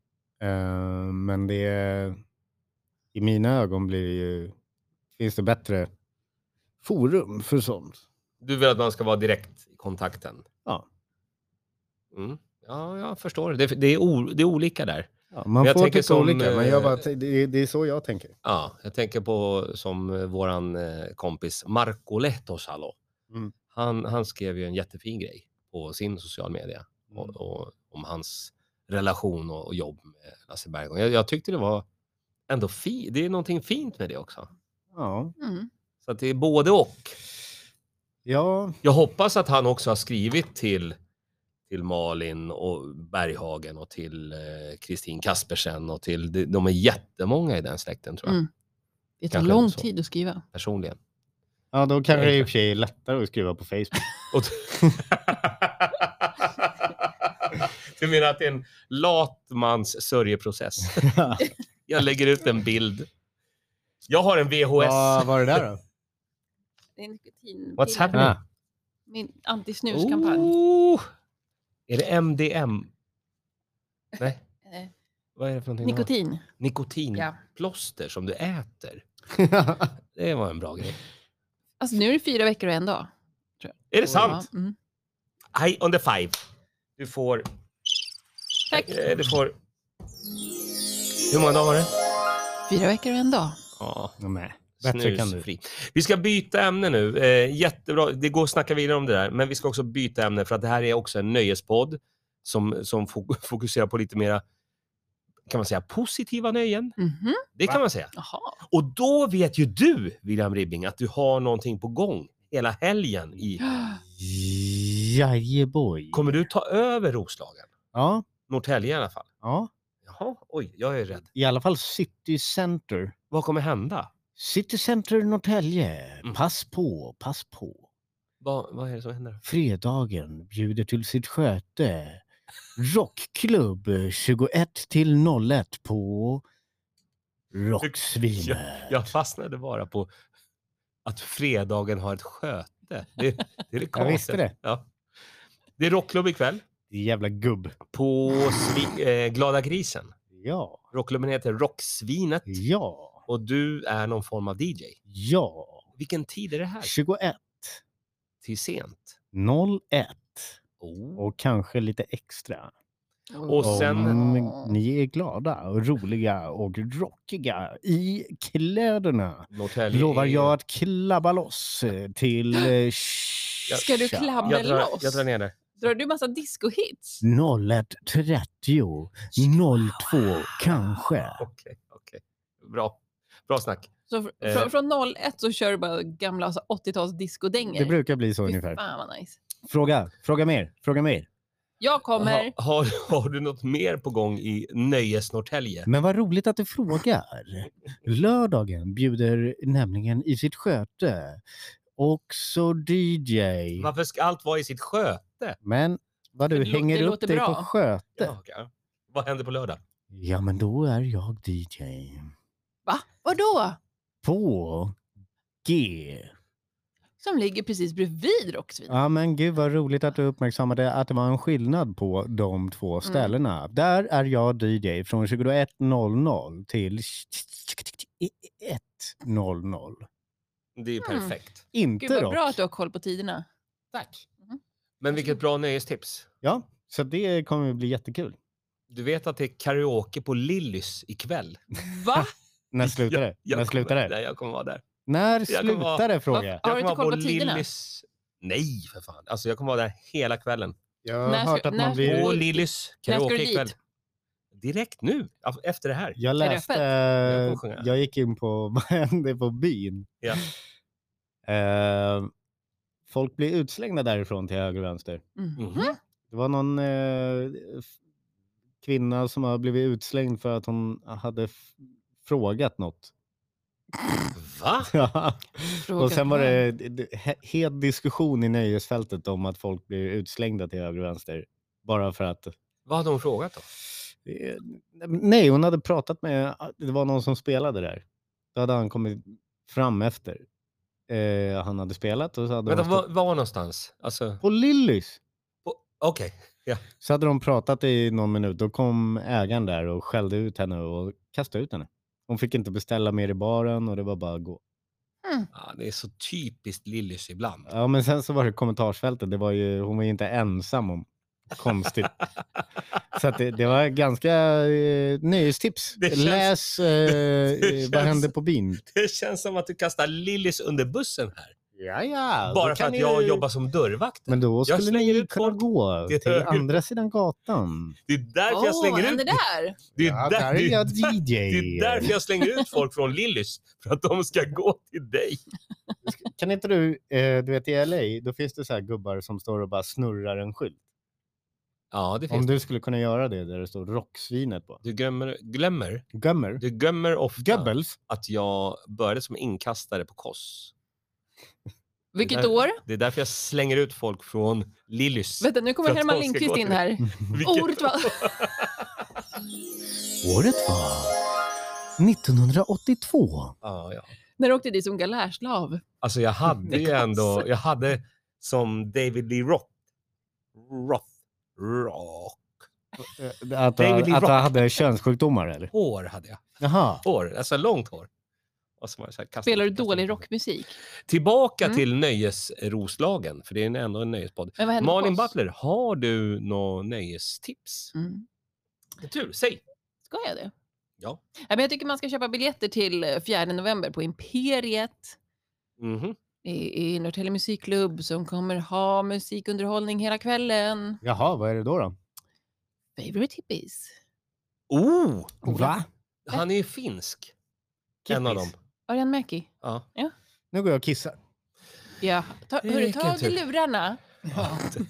[SPEAKER 1] Eh, men det är, i mina ögon blir det ju, finns det bättre forum för sånt.
[SPEAKER 2] Du vill att man ska vara direkt i kontakten?
[SPEAKER 1] Ja.
[SPEAKER 2] Mm. Ja, jag förstår. Det, det, är, o, det är olika där.
[SPEAKER 1] Ja, man
[SPEAKER 2] jag
[SPEAKER 1] får
[SPEAKER 2] tänker
[SPEAKER 1] tycka
[SPEAKER 2] som,
[SPEAKER 1] olika, men jag
[SPEAKER 2] eh,
[SPEAKER 1] bara, det, är- det är så jag tänker.
[SPEAKER 2] Ja, jag tänker på som eh, våran eh, kompis Marco Lehtosalo.
[SPEAKER 1] Mm.
[SPEAKER 2] Han, han skrev ju en jättefin grej på sin social media och,
[SPEAKER 1] Mm.
[SPEAKER 2] och, om hans relation och, och jobb med Lasse Berggren. Jag, jag tyckte det var ändå fint. Det är någonting fint med det också.
[SPEAKER 1] Ja,
[SPEAKER 3] Mm.
[SPEAKER 2] Så att det är både och.
[SPEAKER 1] ja
[SPEAKER 2] Jag hoppas att han också har skrivit till, till Malin och Berghagen och till eh, Kristin Kaspersen och till, de- de är jättemånga i den släkten tror jag,
[SPEAKER 3] Mm. Det tar
[SPEAKER 2] Kanske
[SPEAKER 3] lång
[SPEAKER 2] så.
[SPEAKER 3] tid att skriva.
[SPEAKER 2] personligen.
[SPEAKER 1] Ja, då kanske det i
[SPEAKER 2] Tänker.
[SPEAKER 1] och för sig är lättare att skriva på Facebook.
[SPEAKER 2] Och du menar att det är en lat mans sörjeprocess? Jag lägger ut en bild. Jag har en VHS.
[SPEAKER 1] Vad var det där då?
[SPEAKER 3] Det är nikotin.
[SPEAKER 2] What's happening?
[SPEAKER 1] Ah,
[SPEAKER 3] Min antisnuskampanj.
[SPEAKER 2] Oh! Är det MDM? Nej,
[SPEAKER 3] Eh,
[SPEAKER 2] vad är det för någonting? de har?
[SPEAKER 3] nikotin. Ja.
[SPEAKER 2] Nikotinplåster som du äter. Det var en bra grej.
[SPEAKER 3] Alltså nu är det fyra veckor och en dag.
[SPEAKER 2] Är det sant?
[SPEAKER 3] Ja, Mm.
[SPEAKER 2] High on the five. Du får...
[SPEAKER 3] Tack.
[SPEAKER 2] eh, Du får... Hur många dagar var det?
[SPEAKER 3] Fyra veckor och en dag.
[SPEAKER 2] Ja,
[SPEAKER 1] Nej. Bättre kan du.
[SPEAKER 2] Snusfri. Vi ska byta ämne nu. Eh, jättebra. Det går att snacka vidare om det där, men vi ska också byta ämne för att det här är också en nöjespodd som, som fo- fokuserar på lite mera, kan man säga, positiva nöjen.
[SPEAKER 3] Mhm.
[SPEAKER 2] Det kan
[SPEAKER 1] Va?
[SPEAKER 2] man säga.
[SPEAKER 3] Jaha.
[SPEAKER 2] Och då vet ju du, William Ribbing, att du har någonting på gång hela helgen. I,
[SPEAKER 1] Jajeboj.
[SPEAKER 2] kommer du ta över Roslagen?
[SPEAKER 1] Ja,
[SPEAKER 2] Norrtälje i alla fall.
[SPEAKER 1] ja,
[SPEAKER 2] Jaha, oj, jag är rädd.
[SPEAKER 1] i alla fall City Center.
[SPEAKER 2] Vad kommer hända?
[SPEAKER 1] City Center Norrtälje.
[SPEAKER 2] Mm.
[SPEAKER 1] Pass på, pass på.
[SPEAKER 2] Vad, vad är det som händer?
[SPEAKER 1] Fredagen bjuder till sitt sköte. Rockklubb 21 till 01 på Rocksvinet.
[SPEAKER 2] Jag fastnade bara på att fredagen har ett sköte. Det, det är det
[SPEAKER 1] Jag visste
[SPEAKER 2] konstigaste.
[SPEAKER 1] det.
[SPEAKER 2] Ja. Det är rockklubb ikväll
[SPEAKER 1] Jävla gubb.
[SPEAKER 2] på Svi- eh, Glada grisen.
[SPEAKER 1] Ja,
[SPEAKER 2] Rockklubben heter Rocksvinet
[SPEAKER 1] ja.
[SPEAKER 2] och du är någon form av DJ.
[SPEAKER 1] Ja.
[SPEAKER 2] Vilken tid är det här?
[SPEAKER 1] 21,
[SPEAKER 2] Till sent?
[SPEAKER 1] 01
[SPEAKER 2] Oh.
[SPEAKER 1] och kanske lite extra.
[SPEAKER 2] Och sen-
[SPEAKER 1] Om ni är glada och roliga och rockiga i kläderna
[SPEAKER 2] Norrtälje
[SPEAKER 1] lovar
[SPEAKER 2] är-
[SPEAKER 1] jag att klabba loss till... eh,
[SPEAKER 3] Ska du
[SPEAKER 1] tja,
[SPEAKER 3] klabba
[SPEAKER 2] jag drar,
[SPEAKER 3] loss?
[SPEAKER 2] jag drar ner det.
[SPEAKER 3] Drar du massa discohits?
[SPEAKER 1] Mm. 01.30, 02 kanske.
[SPEAKER 2] Okej, okej. Bra. Bra snack.
[SPEAKER 3] Så fr-
[SPEAKER 2] Eh.
[SPEAKER 3] från, från 01 så kör du bara gamla alltså, 80-tals discodängor.
[SPEAKER 1] Det brukar bli så
[SPEAKER 3] Fy
[SPEAKER 1] ungefär.
[SPEAKER 3] Fan vad nice. Fråga.
[SPEAKER 1] Fråga, fråga mer, fråga mer.
[SPEAKER 3] Jag kommer.
[SPEAKER 2] Ha, har, har du något mer på gång i Nöjes-Norrtälje?
[SPEAKER 1] Men vad roligt att du frågar. Lördagen bjuder nämligen i sitt sköte också DJ.
[SPEAKER 2] Varför ska allt vara i sitt sköte?
[SPEAKER 1] Men vad du
[SPEAKER 3] Det lå-
[SPEAKER 1] hänger
[SPEAKER 3] det
[SPEAKER 1] upp
[SPEAKER 3] låter
[SPEAKER 1] dig
[SPEAKER 3] bra.
[SPEAKER 1] på sköte.
[SPEAKER 2] Ja,
[SPEAKER 1] Ja.
[SPEAKER 2] okej. Vad händer på lördag?
[SPEAKER 1] men då är jag DJ.
[SPEAKER 3] Va? Vadå?
[SPEAKER 1] På G.
[SPEAKER 3] Som ligger precis bredvid Rocksvin.
[SPEAKER 1] Ja men gud vad roligt att du uppmärksammade att det var en skillnad på de
[SPEAKER 3] Mm.
[SPEAKER 1] två ställena. Där är jag DJ från 21.00 till 1.00.
[SPEAKER 2] Det är ju
[SPEAKER 3] Mm.
[SPEAKER 2] perfekt.
[SPEAKER 1] Inte
[SPEAKER 3] Gud vad
[SPEAKER 1] rock.
[SPEAKER 3] bra att du har koll på tiderna.
[SPEAKER 2] Tack.
[SPEAKER 3] Mhm.
[SPEAKER 2] Men vilket bra nöjestips.
[SPEAKER 1] Ja, så det kommer att bli jättekul.
[SPEAKER 2] Du vet att det är karaoke på Lillys ikväll?
[SPEAKER 1] Ah.
[SPEAKER 3] Va?
[SPEAKER 1] När slutar det?
[SPEAKER 2] Jag
[SPEAKER 1] När slutar
[SPEAKER 2] kommer,
[SPEAKER 1] det?
[SPEAKER 2] Nej, jag kommer vara där.
[SPEAKER 1] När
[SPEAKER 2] jag kommer vara-
[SPEAKER 1] slutar det frågar jag.
[SPEAKER 3] Har
[SPEAKER 2] jag
[SPEAKER 3] du
[SPEAKER 2] kommer
[SPEAKER 3] inte
[SPEAKER 2] vara
[SPEAKER 3] koll på tiderna?
[SPEAKER 2] Lillys... Nej, för fan. Alltså, jag kommer vara där hela kvällen.
[SPEAKER 1] Jag har
[SPEAKER 3] När ska-
[SPEAKER 1] hört att man
[SPEAKER 3] när-
[SPEAKER 1] blir...
[SPEAKER 2] På Lillys
[SPEAKER 3] När ska du
[SPEAKER 2] karaokeikväll.
[SPEAKER 3] dit?
[SPEAKER 2] Direkt nu, af- efter det här.
[SPEAKER 1] Jag
[SPEAKER 3] det
[SPEAKER 1] läste,
[SPEAKER 2] Jag kommer sjunga.
[SPEAKER 1] jag gick in på vad hände på byn.
[SPEAKER 2] Ja.
[SPEAKER 1] Eh, folk blir utslängda därifrån till höger och vänster.
[SPEAKER 3] Mhm.
[SPEAKER 2] Mhm.
[SPEAKER 1] Det var någon eh, f- kvinna som har blivit utslängd för att hon hade f- frågat något.
[SPEAKER 2] Va?
[SPEAKER 1] och sen var
[SPEAKER 3] Fråga.
[SPEAKER 1] det d- d- he- het diskussion i nöjesfältet om att folk blir utslängda till höger och vänster. Bara för att
[SPEAKER 2] Vad hade hon frågat då?
[SPEAKER 1] Eh, Nej, hon hade pratat med, ah, det var någon som spelade där. Då hade han kommit fram efter. Eh, han hade spelat och så hade
[SPEAKER 2] Vänta,
[SPEAKER 1] de stått
[SPEAKER 2] var, var någonstans? Alltså,
[SPEAKER 1] på Lillys.
[SPEAKER 2] på- okej.
[SPEAKER 1] Så hade de pratat i någon minut. Då kom ägaren där och skällde ut henne och kastade ut henne. Hon fick inte beställa mer i baren och det var bara att gå.
[SPEAKER 2] Ja, det är så typiskt Lillys ibland.
[SPEAKER 1] Ja, men sen så var det kommentarsfältet. Det var ju, hon var ju inte ensam om konstigt. Så att det, det var ganska eh, nöjestips.
[SPEAKER 2] Det känns-
[SPEAKER 1] Läs eh,
[SPEAKER 2] det
[SPEAKER 1] Vad
[SPEAKER 2] känns-
[SPEAKER 1] hände på bin?
[SPEAKER 2] Det känns som att du kastar Lillys under bussen här.
[SPEAKER 1] Ja, ja. då
[SPEAKER 2] Bara för
[SPEAKER 1] kan
[SPEAKER 2] att
[SPEAKER 1] ni-
[SPEAKER 2] jag jobbar som dörrvakt.
[SPEAKER 1] Men då
[SPEAKER 2] Jag
[SPEAKER 1] skulle
[SPEAKER 2] slänger
[SPEAKER 1] ni ju
[SPEAKER 2] ut
[SPEAKER 1] kunna
[SPEAKER 2] folk
[SPEAKER 1] gå
[SPEAKER 2] till
[SPEAKER 1] till
[SPEAKER 2] höger.
[SPEAKER 1] andra sidan gatan.
[SPEAKER 2] Det är därför jag
[SPEAKER 3] Åh,
[SPEAKER 2] slänger
[SPEAKER 3] vad
[SPEAKER 2] ut
[SPEAKER 3] hände där?
[SPEAKER 2] Det är,
[SPEAKER 1] Ja,
[SPEAKER 2] där,
[SPEAKER 1] där är
[SPEAKER 2] det, är
[SPEAKER 1] jag
[SPEAKER 2] där-
[SPEAKER 1] DJ.
[SPEAKER 2] det är därför jag slänger ut folk från Lillys. För att de ska gå till dig.
[SPEAKER 1] Kan inte du, eh, du vet i LA, då finns det så här gubbar som står och bara snurrar en skylt.
[SPEAKER 2] Ja, det
[SPEAKER 1] Om
[SPEAKER 2] finns.
[SPEAKER 1] du skulle kunna göra det där det står rocksvinet på.
[SPEAKER 2] Du glömmer, glömmer,
[SPEAKER 1] Gömmer?
[SPEAKER 2] du glömmer ofta
[SPEAKER 1] Goebbels?
[SPEAKER 2] att jag började som inkastare på Koss.
[SPEAKER 3] Vilket
[SPEAKER 2] där-
[SPEAKER 3] år?
[SPEAKER 2] Det är därför jag slänger ut folk från Lillys.
[SPEAKER 3] Vänta, nu
[SPEAKER 2] För
[SPEAKER 3] kommer
[SPEAKER 2] att
[SPEAKER 3] Herman
[SPEAKER 2] de ska
[SPEAKER 3] Lindqvist
[SPEAKER 2] gå
[SPEAKER 3] in
[SPEAKER 2] till-
[SPEAKER 3] här.
[SPEAKER 2] Vilket-
[SPEAKER 3] Året var...
[SPEAKER 1] Året var 1982.
[SPEAKER 2] Ja, ja.
[SPEAKER 3] När du åkte dit som galärslav.
[SPEAKER 2] Alltså jag hade ju
[SPEAKER 3] Det är
[SPEAKER 2] ändå,
[SPEAKER 3] konstigt.
[SPEAKER 2] jag hade som David Lee Roth. Roth. Rock.
[SPEAKER 1] Eh, Att,
[SPEAKER 2] David Lee
[SPEAKER 1] att
[SPEAKER 2] Roth.
[SPEAKER 1] han hade könssjukdomar eller?
[SPEAKER 2] Hår hade jag.
[SPEAKER 1] Jaha.
[SPEAKER 2] Hår, alltså långt hår. Och så var jag så här, kastade-
[SPEAKER 3] Spelar du
[SPEAKER 2] kastade-
[SPEAKER 3] dålig rockmusik?
[SPEAKER 2] Tillbaka
[SPEAKER 3] Mm.
[SPEAKER 2] till nöjesroslagen, för det är en- ändå en nöjespodd.
[SPEAKER 3] Men vad hände på
[SPEAKER 2] Malin
[SPEAKER 3] Koss?
[SPEAKER 2] Butler, har du några nöjestips?
[SPEAKER 3] Mm.
[SPEAKER 2] Tur, säg!
[SPEAKER 3] Ska jag det?
[SPEAKER 2] Ja.
[SPEAKER 3] Nej, men jag tycker man ska köpa biljetter till eh, 4 november på Imperiet
[SPEAKER 2] Mhm.
[SPEAKER 3] i, i Norrtälje musikklubb som kommer ha musikunderhållning hela kvällen.
[SPEAKER 1] Jaha, vad är det då? då?
[SPEAKER 3] Favorite hippies.
[SPEAKER 2] Oh!
[SPEAKER 1] Va?
[SPEAKER 2] Han är ju finsk. En av dem.
[SPEAKER 1] Kippis.
[SPEAKER 3] Örjan Mäki.
[SPEAKER 2] Ja.
[SPEAKER 1] Nu går jag och kissar.
[SPEAKER 3] Ja, ta,
[SPEAKER 2] Det
[SPEAKER 3] hörru,
[SPEAKER 2] gick
[SPEAKER 3] ta av
[SPEAKER 2] inte.
[SPEAKER 3] dig lurarna.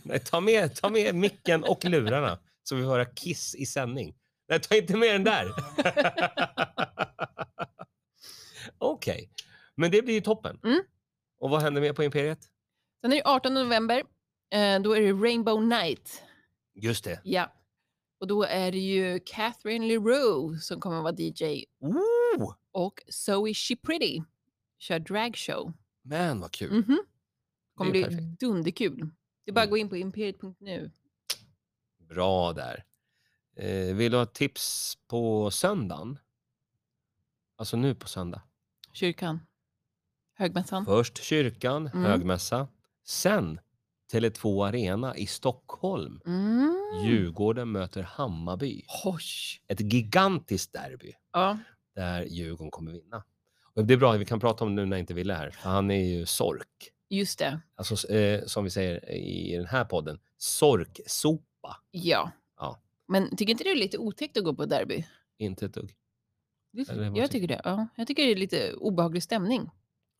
[SPEAKER 2] Nej, ta, med, ta med micken och lurarna så vi får höra Kiss i sändning. Nej, ta inte med den där! Okej, men det blir ju toppen.
[SPEAKER 3] Mm.
[SPEAKER 2] Och vad händer mer på Imperiet?
[SPEAKER 3] Sen är det 18 november. Eh, då är det Rainbow Night.
[SPEAKER 2] Just det.
[SPEAKER 3] Ja. Och då är det ju Catherine LeRoux som kommer att vara DJ
[SPEAKER 2] Ooh,
[SPEAKER 3] och Zoe She Pretty kör dragshow.
[SPEAKER 2] men vad kul.
[SPEAKER 3] Mhm. kommer
[SPEAKER 2] Det
[SPEAKER 3] bli
[SPEAKER 2] är ju
[SPEAKER 3] dunderkul. Det är bara att
[SPEAKER 2] Mm.
[SPEAKER 3] gå in på imperiet.nu.
[SPEAKER 2] Bra där. Eh, vill du ha tips på söndagen? Alltså nu på söndag.
[SPEAKER 3] Mm. Kyrkan. Högmässan.
[SPEAKER 2] Först kyrkan,
[SPEAKER 3] Mm.
[SPEAKER 2] högmässa. Sen Tele2 Arena i Stockholm.
[SPEAKER 3] Mm.
[SPEAKER 2] Djurgården möter Hammarby.
[SPEAKER 3] Hosh.
[SPEAKER 2] Ett gigantiskt derby
[SPEAKER 3] Ja.
[SPEAKER 2] där Djurgården kommer vinna. Och det är bra, vi kan prata om det nu när inte Wille är här. för Han är ju sork.
[SPEAKER 3] Just det.
[SPEAKER 2] Alltså eh, som vi säger i den här podden, sorksopa.
[SPEAKER 3] Ja.
[SPEAKER 2] Ja.
[SPEAKER 3] Men tycker inte du det är lite otäckt att gå på derby?
[SPEAKER 2] Inte ett dugg.
[SPEAKER 3] Det-
[SPEAKER 2] Eller vad
[SPEAKER 3] jag
[SPEAKER 2] tycker
[SPEAKER 3] tycker det. Ja. Jag tycker det är lite obehaglig stämning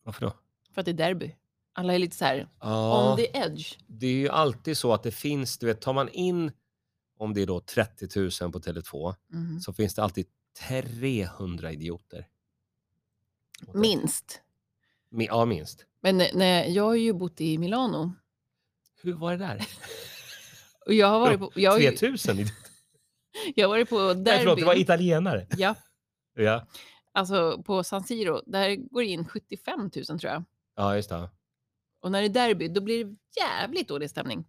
[SPEAKER 2] Varför då?
[SPEAKER 3] för att det är derby. Alla är lite så här
[SPEAKER 2] Ja.
[SPEAKER 3] on the edge.
[SPEAKER 2] det är ju alltid så att det finns, du vet, tar man in om det är då 30 000 på Tele2
[SPEAKER 3] Mm.
[SPEAKER 2] så finns det alltid 300 idioter. Och det-
[SPEAKER 3] Minst.
[SPEAKER 2] Mi- Ja, minst.
[SPEAKER 3] Men eh, nej, jag har ju bott i Milano
[SPEAKER 2] Hur var det där?
[SPEAKER 3] och jag har varit på, jag har ju,
[SPEAKER 2] 3000 idioter?
[SPEAKER 3] jag har varit på
[SPEAKER 2] Nej, förlåt,
[SPEAKER 3] derby.
[SPEAKER 2] det var italienare.
[SPEAKER 3] ja,
[SPEAKER 2] Ja,
[SPEAKER 3] alltså på San Siro, där går det in 75 000 tror jag.
[SPEAKER 2] ja just det.
[SPEAKER 3] Och när det är derby, då blir det jävligt dålig stämning.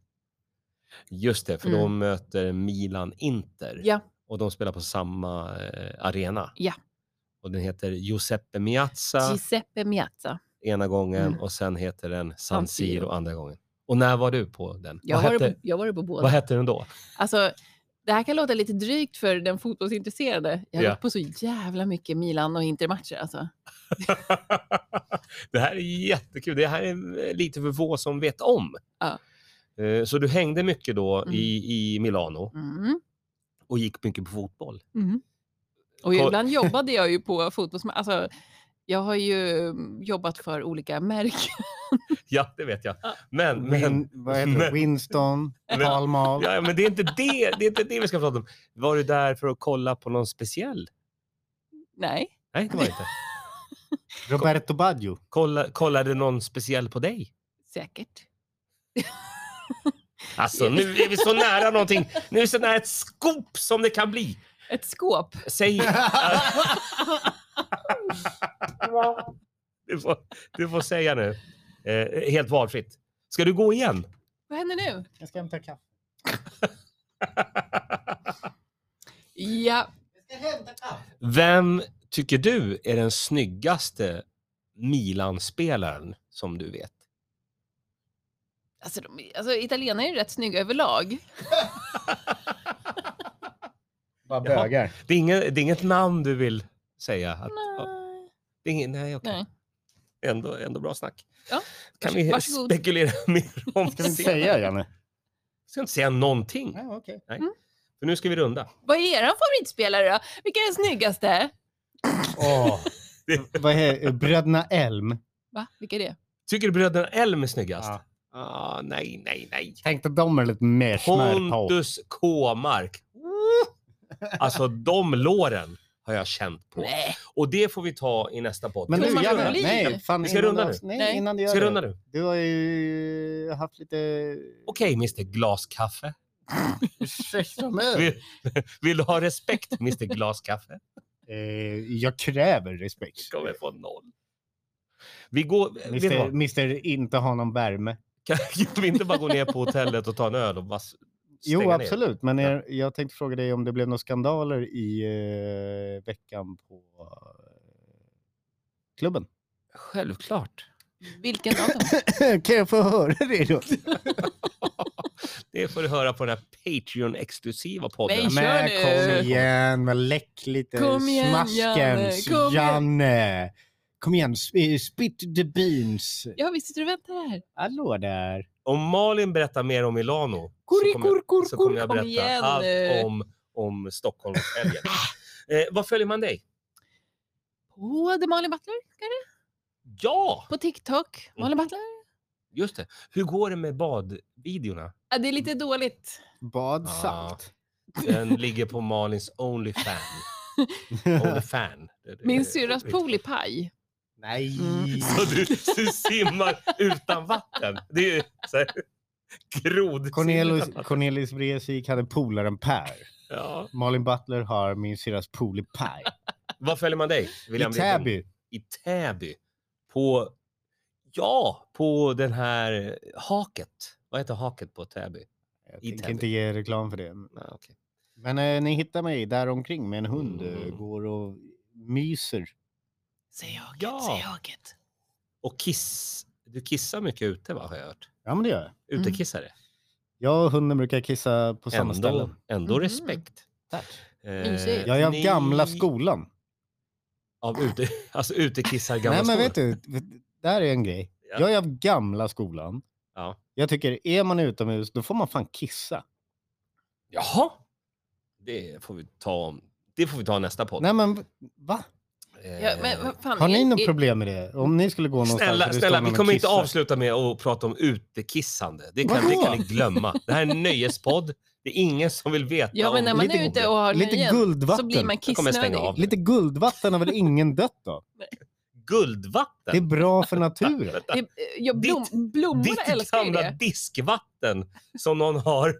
[SPEAKER 2] Just det, för de
[SPEAKER 3] Mm.
[SPEAKER 2] möter Milan-Inter.
[SPEAKER 3] Ja.
[SPEAKER 2] Och de spelar på samma eh, arena.
[SPEAKER 3] Ja.
[SPEAKER 2] Och den heter Giuseppe Miazza
[SPEAKER 3] Giuseppe Miazza.
[SPEAKER 2] ena gången
[SPEAKER 3] Mm.
[SPEAKER 2] och sen heter den San
[SPEAKER 3] San Siro.
[SPEAKER 2] Siro andra gången. Och när var du på den?
[SPEAKER 3] Jag
[SPEAKER 2] vad,
[SPEAKER 3] har
[SPEAKER 2] hette,
[SPEAKER 3] varit på, jag har varit på båda.
[SPEAKER 2] vad hette den då?
[SPEAKER 3] Alltså, det här kan låta lite drygt för den fotbollsintresserade. Jag har
[SPEAKER 2] Ja.
[SPEAKER 3] gått på så jävla mycket Milan och Inter-matcher. Alltså.
[SPEAKER 2] eh, det här är jättekul. Det här är lite för få som vet om.
[SPEAKER 3] Ja.
[SPEAKER 2] Eh, Så du hängde mycket då
[SPEAKER 3] Mm.
[SPEAKER 2] i, i Milano
[SPEAKER 3] Mm.
[SPEAKER 2] och gick mycket på fotboll.
[SPEAKER 3] Mm. Och
[SPEAKER 2] Ko-
[SPEAKER 3] ibland jobbade jag ju på fotbollsmatcher. Alltså, jag har ju mm, jobbat för olika märken.
[SPEAKER 2] Ja, det vet jag. Men, men,
[SPEAKER 1] Win, vad heter det?
[SPEAKER 2] men-
[SPEAKER 1] Winston,
[SPEAKER 2] Men-
[SPEAKER 1] Pall Mall.
[SPEAKER 2] ja, men det, är inte det, det är inte det vi ska prata om. Var du där för att kolla på någon speciell?
[SPEAKER 3] Nej,
[SPEAKER 2] Nej, det var det inte.
[SPEAKER 1] Roberto Baggio.
[SPEAKER 2] Kolla, kollade någon speciell på dig?
[SPEAKER 3] säkert.
[SPEAKER 2] Alltså, nu är vi så nära någonting. Nu är vi så nära ett skop som det kan bli.
[SPEAKER 3] Ett skåp.
[SPEAKER 2] Säg... Du får, du får säga nu. Eh, helt valfritt. Ska du gå igen?
[SPEAKER 3] Vad händer nu?
[SPEAKER 1] Jag ska hämta kaffe.
[SPEAKER 3] Ja,
[SPEAKER 2] Vem tycker du är den snyggaste Milan-spelaren som du vet?
[SPEAKER 3] alltså, de, alltså italienare är ju rätt snygga överlag.
[SPEAKER 1] Bara
[SPEAKER 2] Jaha.
[SPEAKER 1] bögar.
[SPEAKER 2] Det är, inget, det är inget namn du vill säga? Att,
[SPEAKER 3] Nej.
[SPEAKER 2] Det är ingen, nej, okej.
[SPEAKER 3] Nej.
[SPEAKER 2] Ändå, ändå bra snack.
[SPEAKER 3] Ja,
[SPEAKER 2] Kan
[SPEAKER 3] vars-
[SPEAKER 2] vi
[SPEAKER 3] varsågod.
[SPEAKER 2] spekulera mer om
[SPEAKER 1] Ska vi inte
[SPEAKER 2] sen?
[SPEAKER 1] säga Janne?
[SPEAKER 2] Jag ska inte säga någonting.
[SPEAKER 1] Nej, okej.
[SPEAKER 2] För nu ska vi runda.
[SPEAKER 3] Vad är er favoritspelare då? Vilka är den snyggaste?
[SPEAKER 1] Vad är Bröderna Elm?
[SPEAKER 3] Va? Vilka är det?
[SPEAKER 2] Tycker du bröderna Elm är snyggast?
[SPEAKER 1] Ja.
[SPEAKER 2] Ah, nej, nej, nej.
[SPEAKER 1] Tänkte de är lite mer smör på.
[SPEAKER 2] Pontus K. Mark. Alltså de låren har jag känt på.
[SPEAKER 3] Nej.
[SPEAKER 2] Och det får vi ta i nästa podd.
[SPEAKER 1] Men
[SPEAKER 3] Thomas
[SPEAKER 1] du, Janne,
[SPEAKER 3] Brolin.
[SPEAKER 1] nej, fan,
[SPEAKER 2] Vi ska
[SPEAKER 1] innan
[SPEAKER 2] runda
[SPEAKER 1] du-
[SPEAKER 2] nu.
[SPEAKER 1] Nej,
[SPEAKER 3] Nej.
[SPEAKER 1] innan du gör
[SPEAKER 2] Ska jag
[SPEAKER 1] det.
[SPEAKER 2] runda nu?
[SPEAKER 1] Du har ju haft lite...
[SPEAKER 2] Okej, Mr Glaskaffe.
[SPEAKER 1] Ursäkta
[SPEAKER 3] Mm.
[SPEAKER 1] mig.
[SPEAKER 2] Vill, vill du ha respekt, Mr Glaskaffe?
[SPEAKER 1] Eh, jag kräver respekt.
[SPEAKER 2] Kommer få noll. Vi går... Vet du
[SPEAKER 1] Mister,
[SPEAKER 2] vad?
[SPEAKER 1] mister inte ha någon värme.
[SPEAKER 2] Kan, kan vi inte bara gå ner på hotellet och ta en öl och bara s- stänga
[SPEAKER 1] Jo,
[SPEAKER 2] ner?
[SPEAKER 1] absolut. Men är, jag tänkte fråga dig om det blev några skandaler i eh, veckan på eh, klubben.
[SPEAKER 2] Självklart.
[SPEAKER 3] Vilken av dem?
[SPEAKER 1] kan jag få höra det då?
[SPEAKER 2] Det får du höra på den här Patreon-exklusiva podden.
[SPEAKER 3] Nej, kör
[SPEAKER 1] Men
[SPEAKER 3] nu.
[SPEAKER 1] kom igen, men läck lite.
[SPEAKER 3] Kom igen,
[SPEAKER 1] Smaskens,
[SPEAKER 3] Janne, kom igen.
[SPEAKER 1] Janne. Kom igen, sp- eh, spit the beans.
[SPEAKER 3] Ja, vi sitter och väntar här.
[SPEAKER 1] Hallå där.
[SPEAKER 2] Om Malin berättar mer om Milano så kommer jag,
[SPEAKER 3] Kurikurkur,
[SPEAKER 2] så kommer jag
[SPEAKER 3] kom
[SPEAKER 2] berätta
[SPEAKER 3] igen nu.
[SPEAKER 2] allt om, om Stockholmshelgen. eh, vad följer man dig?
[SPEAKER 3] På The Malin Butler, kanske?
[SPEAKER 2] Ja,
[SPEAKER 3] På TikTok.
[SPEAKER 2] Mm.
[SPEAKER 3] Malin Butler?
[SPEAKER 2] just det. Hur går det med badvideorna?
[SPEAKER 3] Ja, det är
[SPEAKER 2] Mm.
[SPEAKER 3] lite dåligt.
[SPEAKER 1] Bad
[SPEAKER 2] Ja.
[SPEAKER 1] salt.
[SPEAKER 2] Den ligger på Malins Onlyfan. Onlyfan.
[SPEAKER 3] Min syrras pool är paj.
[SPEAKER 1] Nej.
[SPEAKER 3] Mm.
[SPEAKER 2] Så du, du simmar utan vatten. Det är ju så här, grod.
[SPEAKER 1] Cornelius, Cornelius Vreeswijk hade polaren Per.
[SPEAKER 2] Ja.
[SPEAKER 1] Malin Butler har min syrras pool i Paj.
[SPEAKER 2] Var följer man dig?
[SPEAKER 1] I
[SPEAKER 2] William Lidbom?
[SPEAKER 1] Täby.
[SPEAKER 2] i Täby på, ja, på den här haket. Vad heter haket på Täby?
[SPEAKER 1] Jag
[SPEAKER 2] I
[SPEAKER 1] tänker
[SPEAKER 2] Täby.
[SPEAKER 1] inte ge reklam för det.
[SPEAKER 2] Nej, okej.
[SPEAKER 1] Men eh, ni hittar mig där omkring med en hund. eh,
[SPEAKER 2] Mm.
[SPEAKER 1] Går och myser.
[SPEAKER 3] Säg jaget,
[SPEAKER 2] Ja.
[SPEAKER 3] säg jaget.
[SPEAKER 2] Och kiss, du kissar mycket ute va, har jag hört.
[SPEAKER 1] Ja, men det gör jag.
[SPEAKER 2] Utekissare.
[SPEAKER 1] Jag och hunden brukar kissa Mm. på samma
[SPEAKER 2] Ändå,
[SPEAKER 1] ställen.
[SPEAKER 2] ändå
[SPEAKER 3] Mhm.
[SPEAKER 2] respekt. Eh,
[SPEAKER 1] Tack.
[SPEAKER 3] Mysigt.
[SPEAKER 1] Jag är av
[SPEAKER 2] ni-
[SPEAKER 1] gamla skolan.
[SPEAKER 2] Av ute, alltså utekissar gamla
[SPEAKER 1] Nej, men vet
[SPEAKER 2] skor.
[SPEAKER 1] du. vet- Där är en grej.
[SPEAKER 2] Ja.
[SPEAKER 1] Jag är av gamla skolan.
[SPEAKER 2] Ja.
[SPEAKER 1] Jag tycker, är man utomhus, då får man fan kissa.
[SPEAKER 2] Jaha. Det får vi ta om. Det får vi ta nästa podd.
[SPEAKER 1] Nej, men va?
[SPEAKER 2] Eh,
[SPEAKER 3] Ja, men vad fan,
[SPEAKER 1] Har
[SPEAKER 3] är-
[SPEAKER 1] ni något
[SPEAKER 3] är-
[SPEAKER 1] problem med det? Om ni skulle gå någonstans och
[SPEAKER 2] Snälla,
[SPEAKER 1] det står
[SPEAKER 2] snälla
[SPEAKER 1] någon
[SPEAKER 2] vi
[SPEAKER 1] och
[SPEAKER 2] kommer inte
[SPEAKER 1] kissar.
[SPEAKER 2] avsluta med att prata om utekissande. Det kan,
[SPEAKER 1] Vadå?
[SPEAKER 2] det kan ni glömma. Det här är en nöjespodd. Det är ingen som vill veta
[SPEAKER 3] Ja, men när
[SPEAKER 2] om
[SPEAKER 3] man
[SPEAKER 1] lite-
[SPEAKER 3] är ute och har
[SPEAKER 1] Lite
[SPEAKER 3] nöjen så
[SPEAKER 1] guldvatten.
[SPEAKER 3] blir man
[SPEAKER 2] Jag kommer stänga
[SPEAKER 3] kissnödig.
[SPEAKER 2] av.
[SPEAKER 1] Lite guldvatten har väl ingen dött då?
[SPEAKER 2] guldvatten.
[SPEAKER 1] Det är bra för naturen.
[SPEAKER 3] Det, eh, ja, blom, blommorna
[SPEAKER 2] Ditt
[SPEAKER 3] älskar ju
[SPEAKER 2] gamla
[SPEAKER 3] det.
[SPEAKER 2] diskvatten som någon har.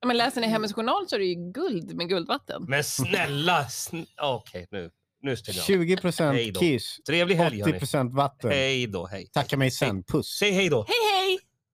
[SPEAKER 3] Ja, Men läser ni Hemmets Journal så är det ju guld med guldvatten.
[SPEAKER 2] Men snälla, sn- okej nu. Nu stänger jag av.
[SPEAKER 1] 20
[SPEAKER 2] Hej då.
[SPEAKER 1] kiss,
[SPEAKER 2] Trevlig helg hörni.
[SPEAKER 1] 80 vatten.
[SPEAKER 2] Hej då, hej.
[SPEAKER 1] Tacka mig sen. Puss.
[SPEAKER 2] Säg hej då.
[SPEAKER 3] Hej, hej!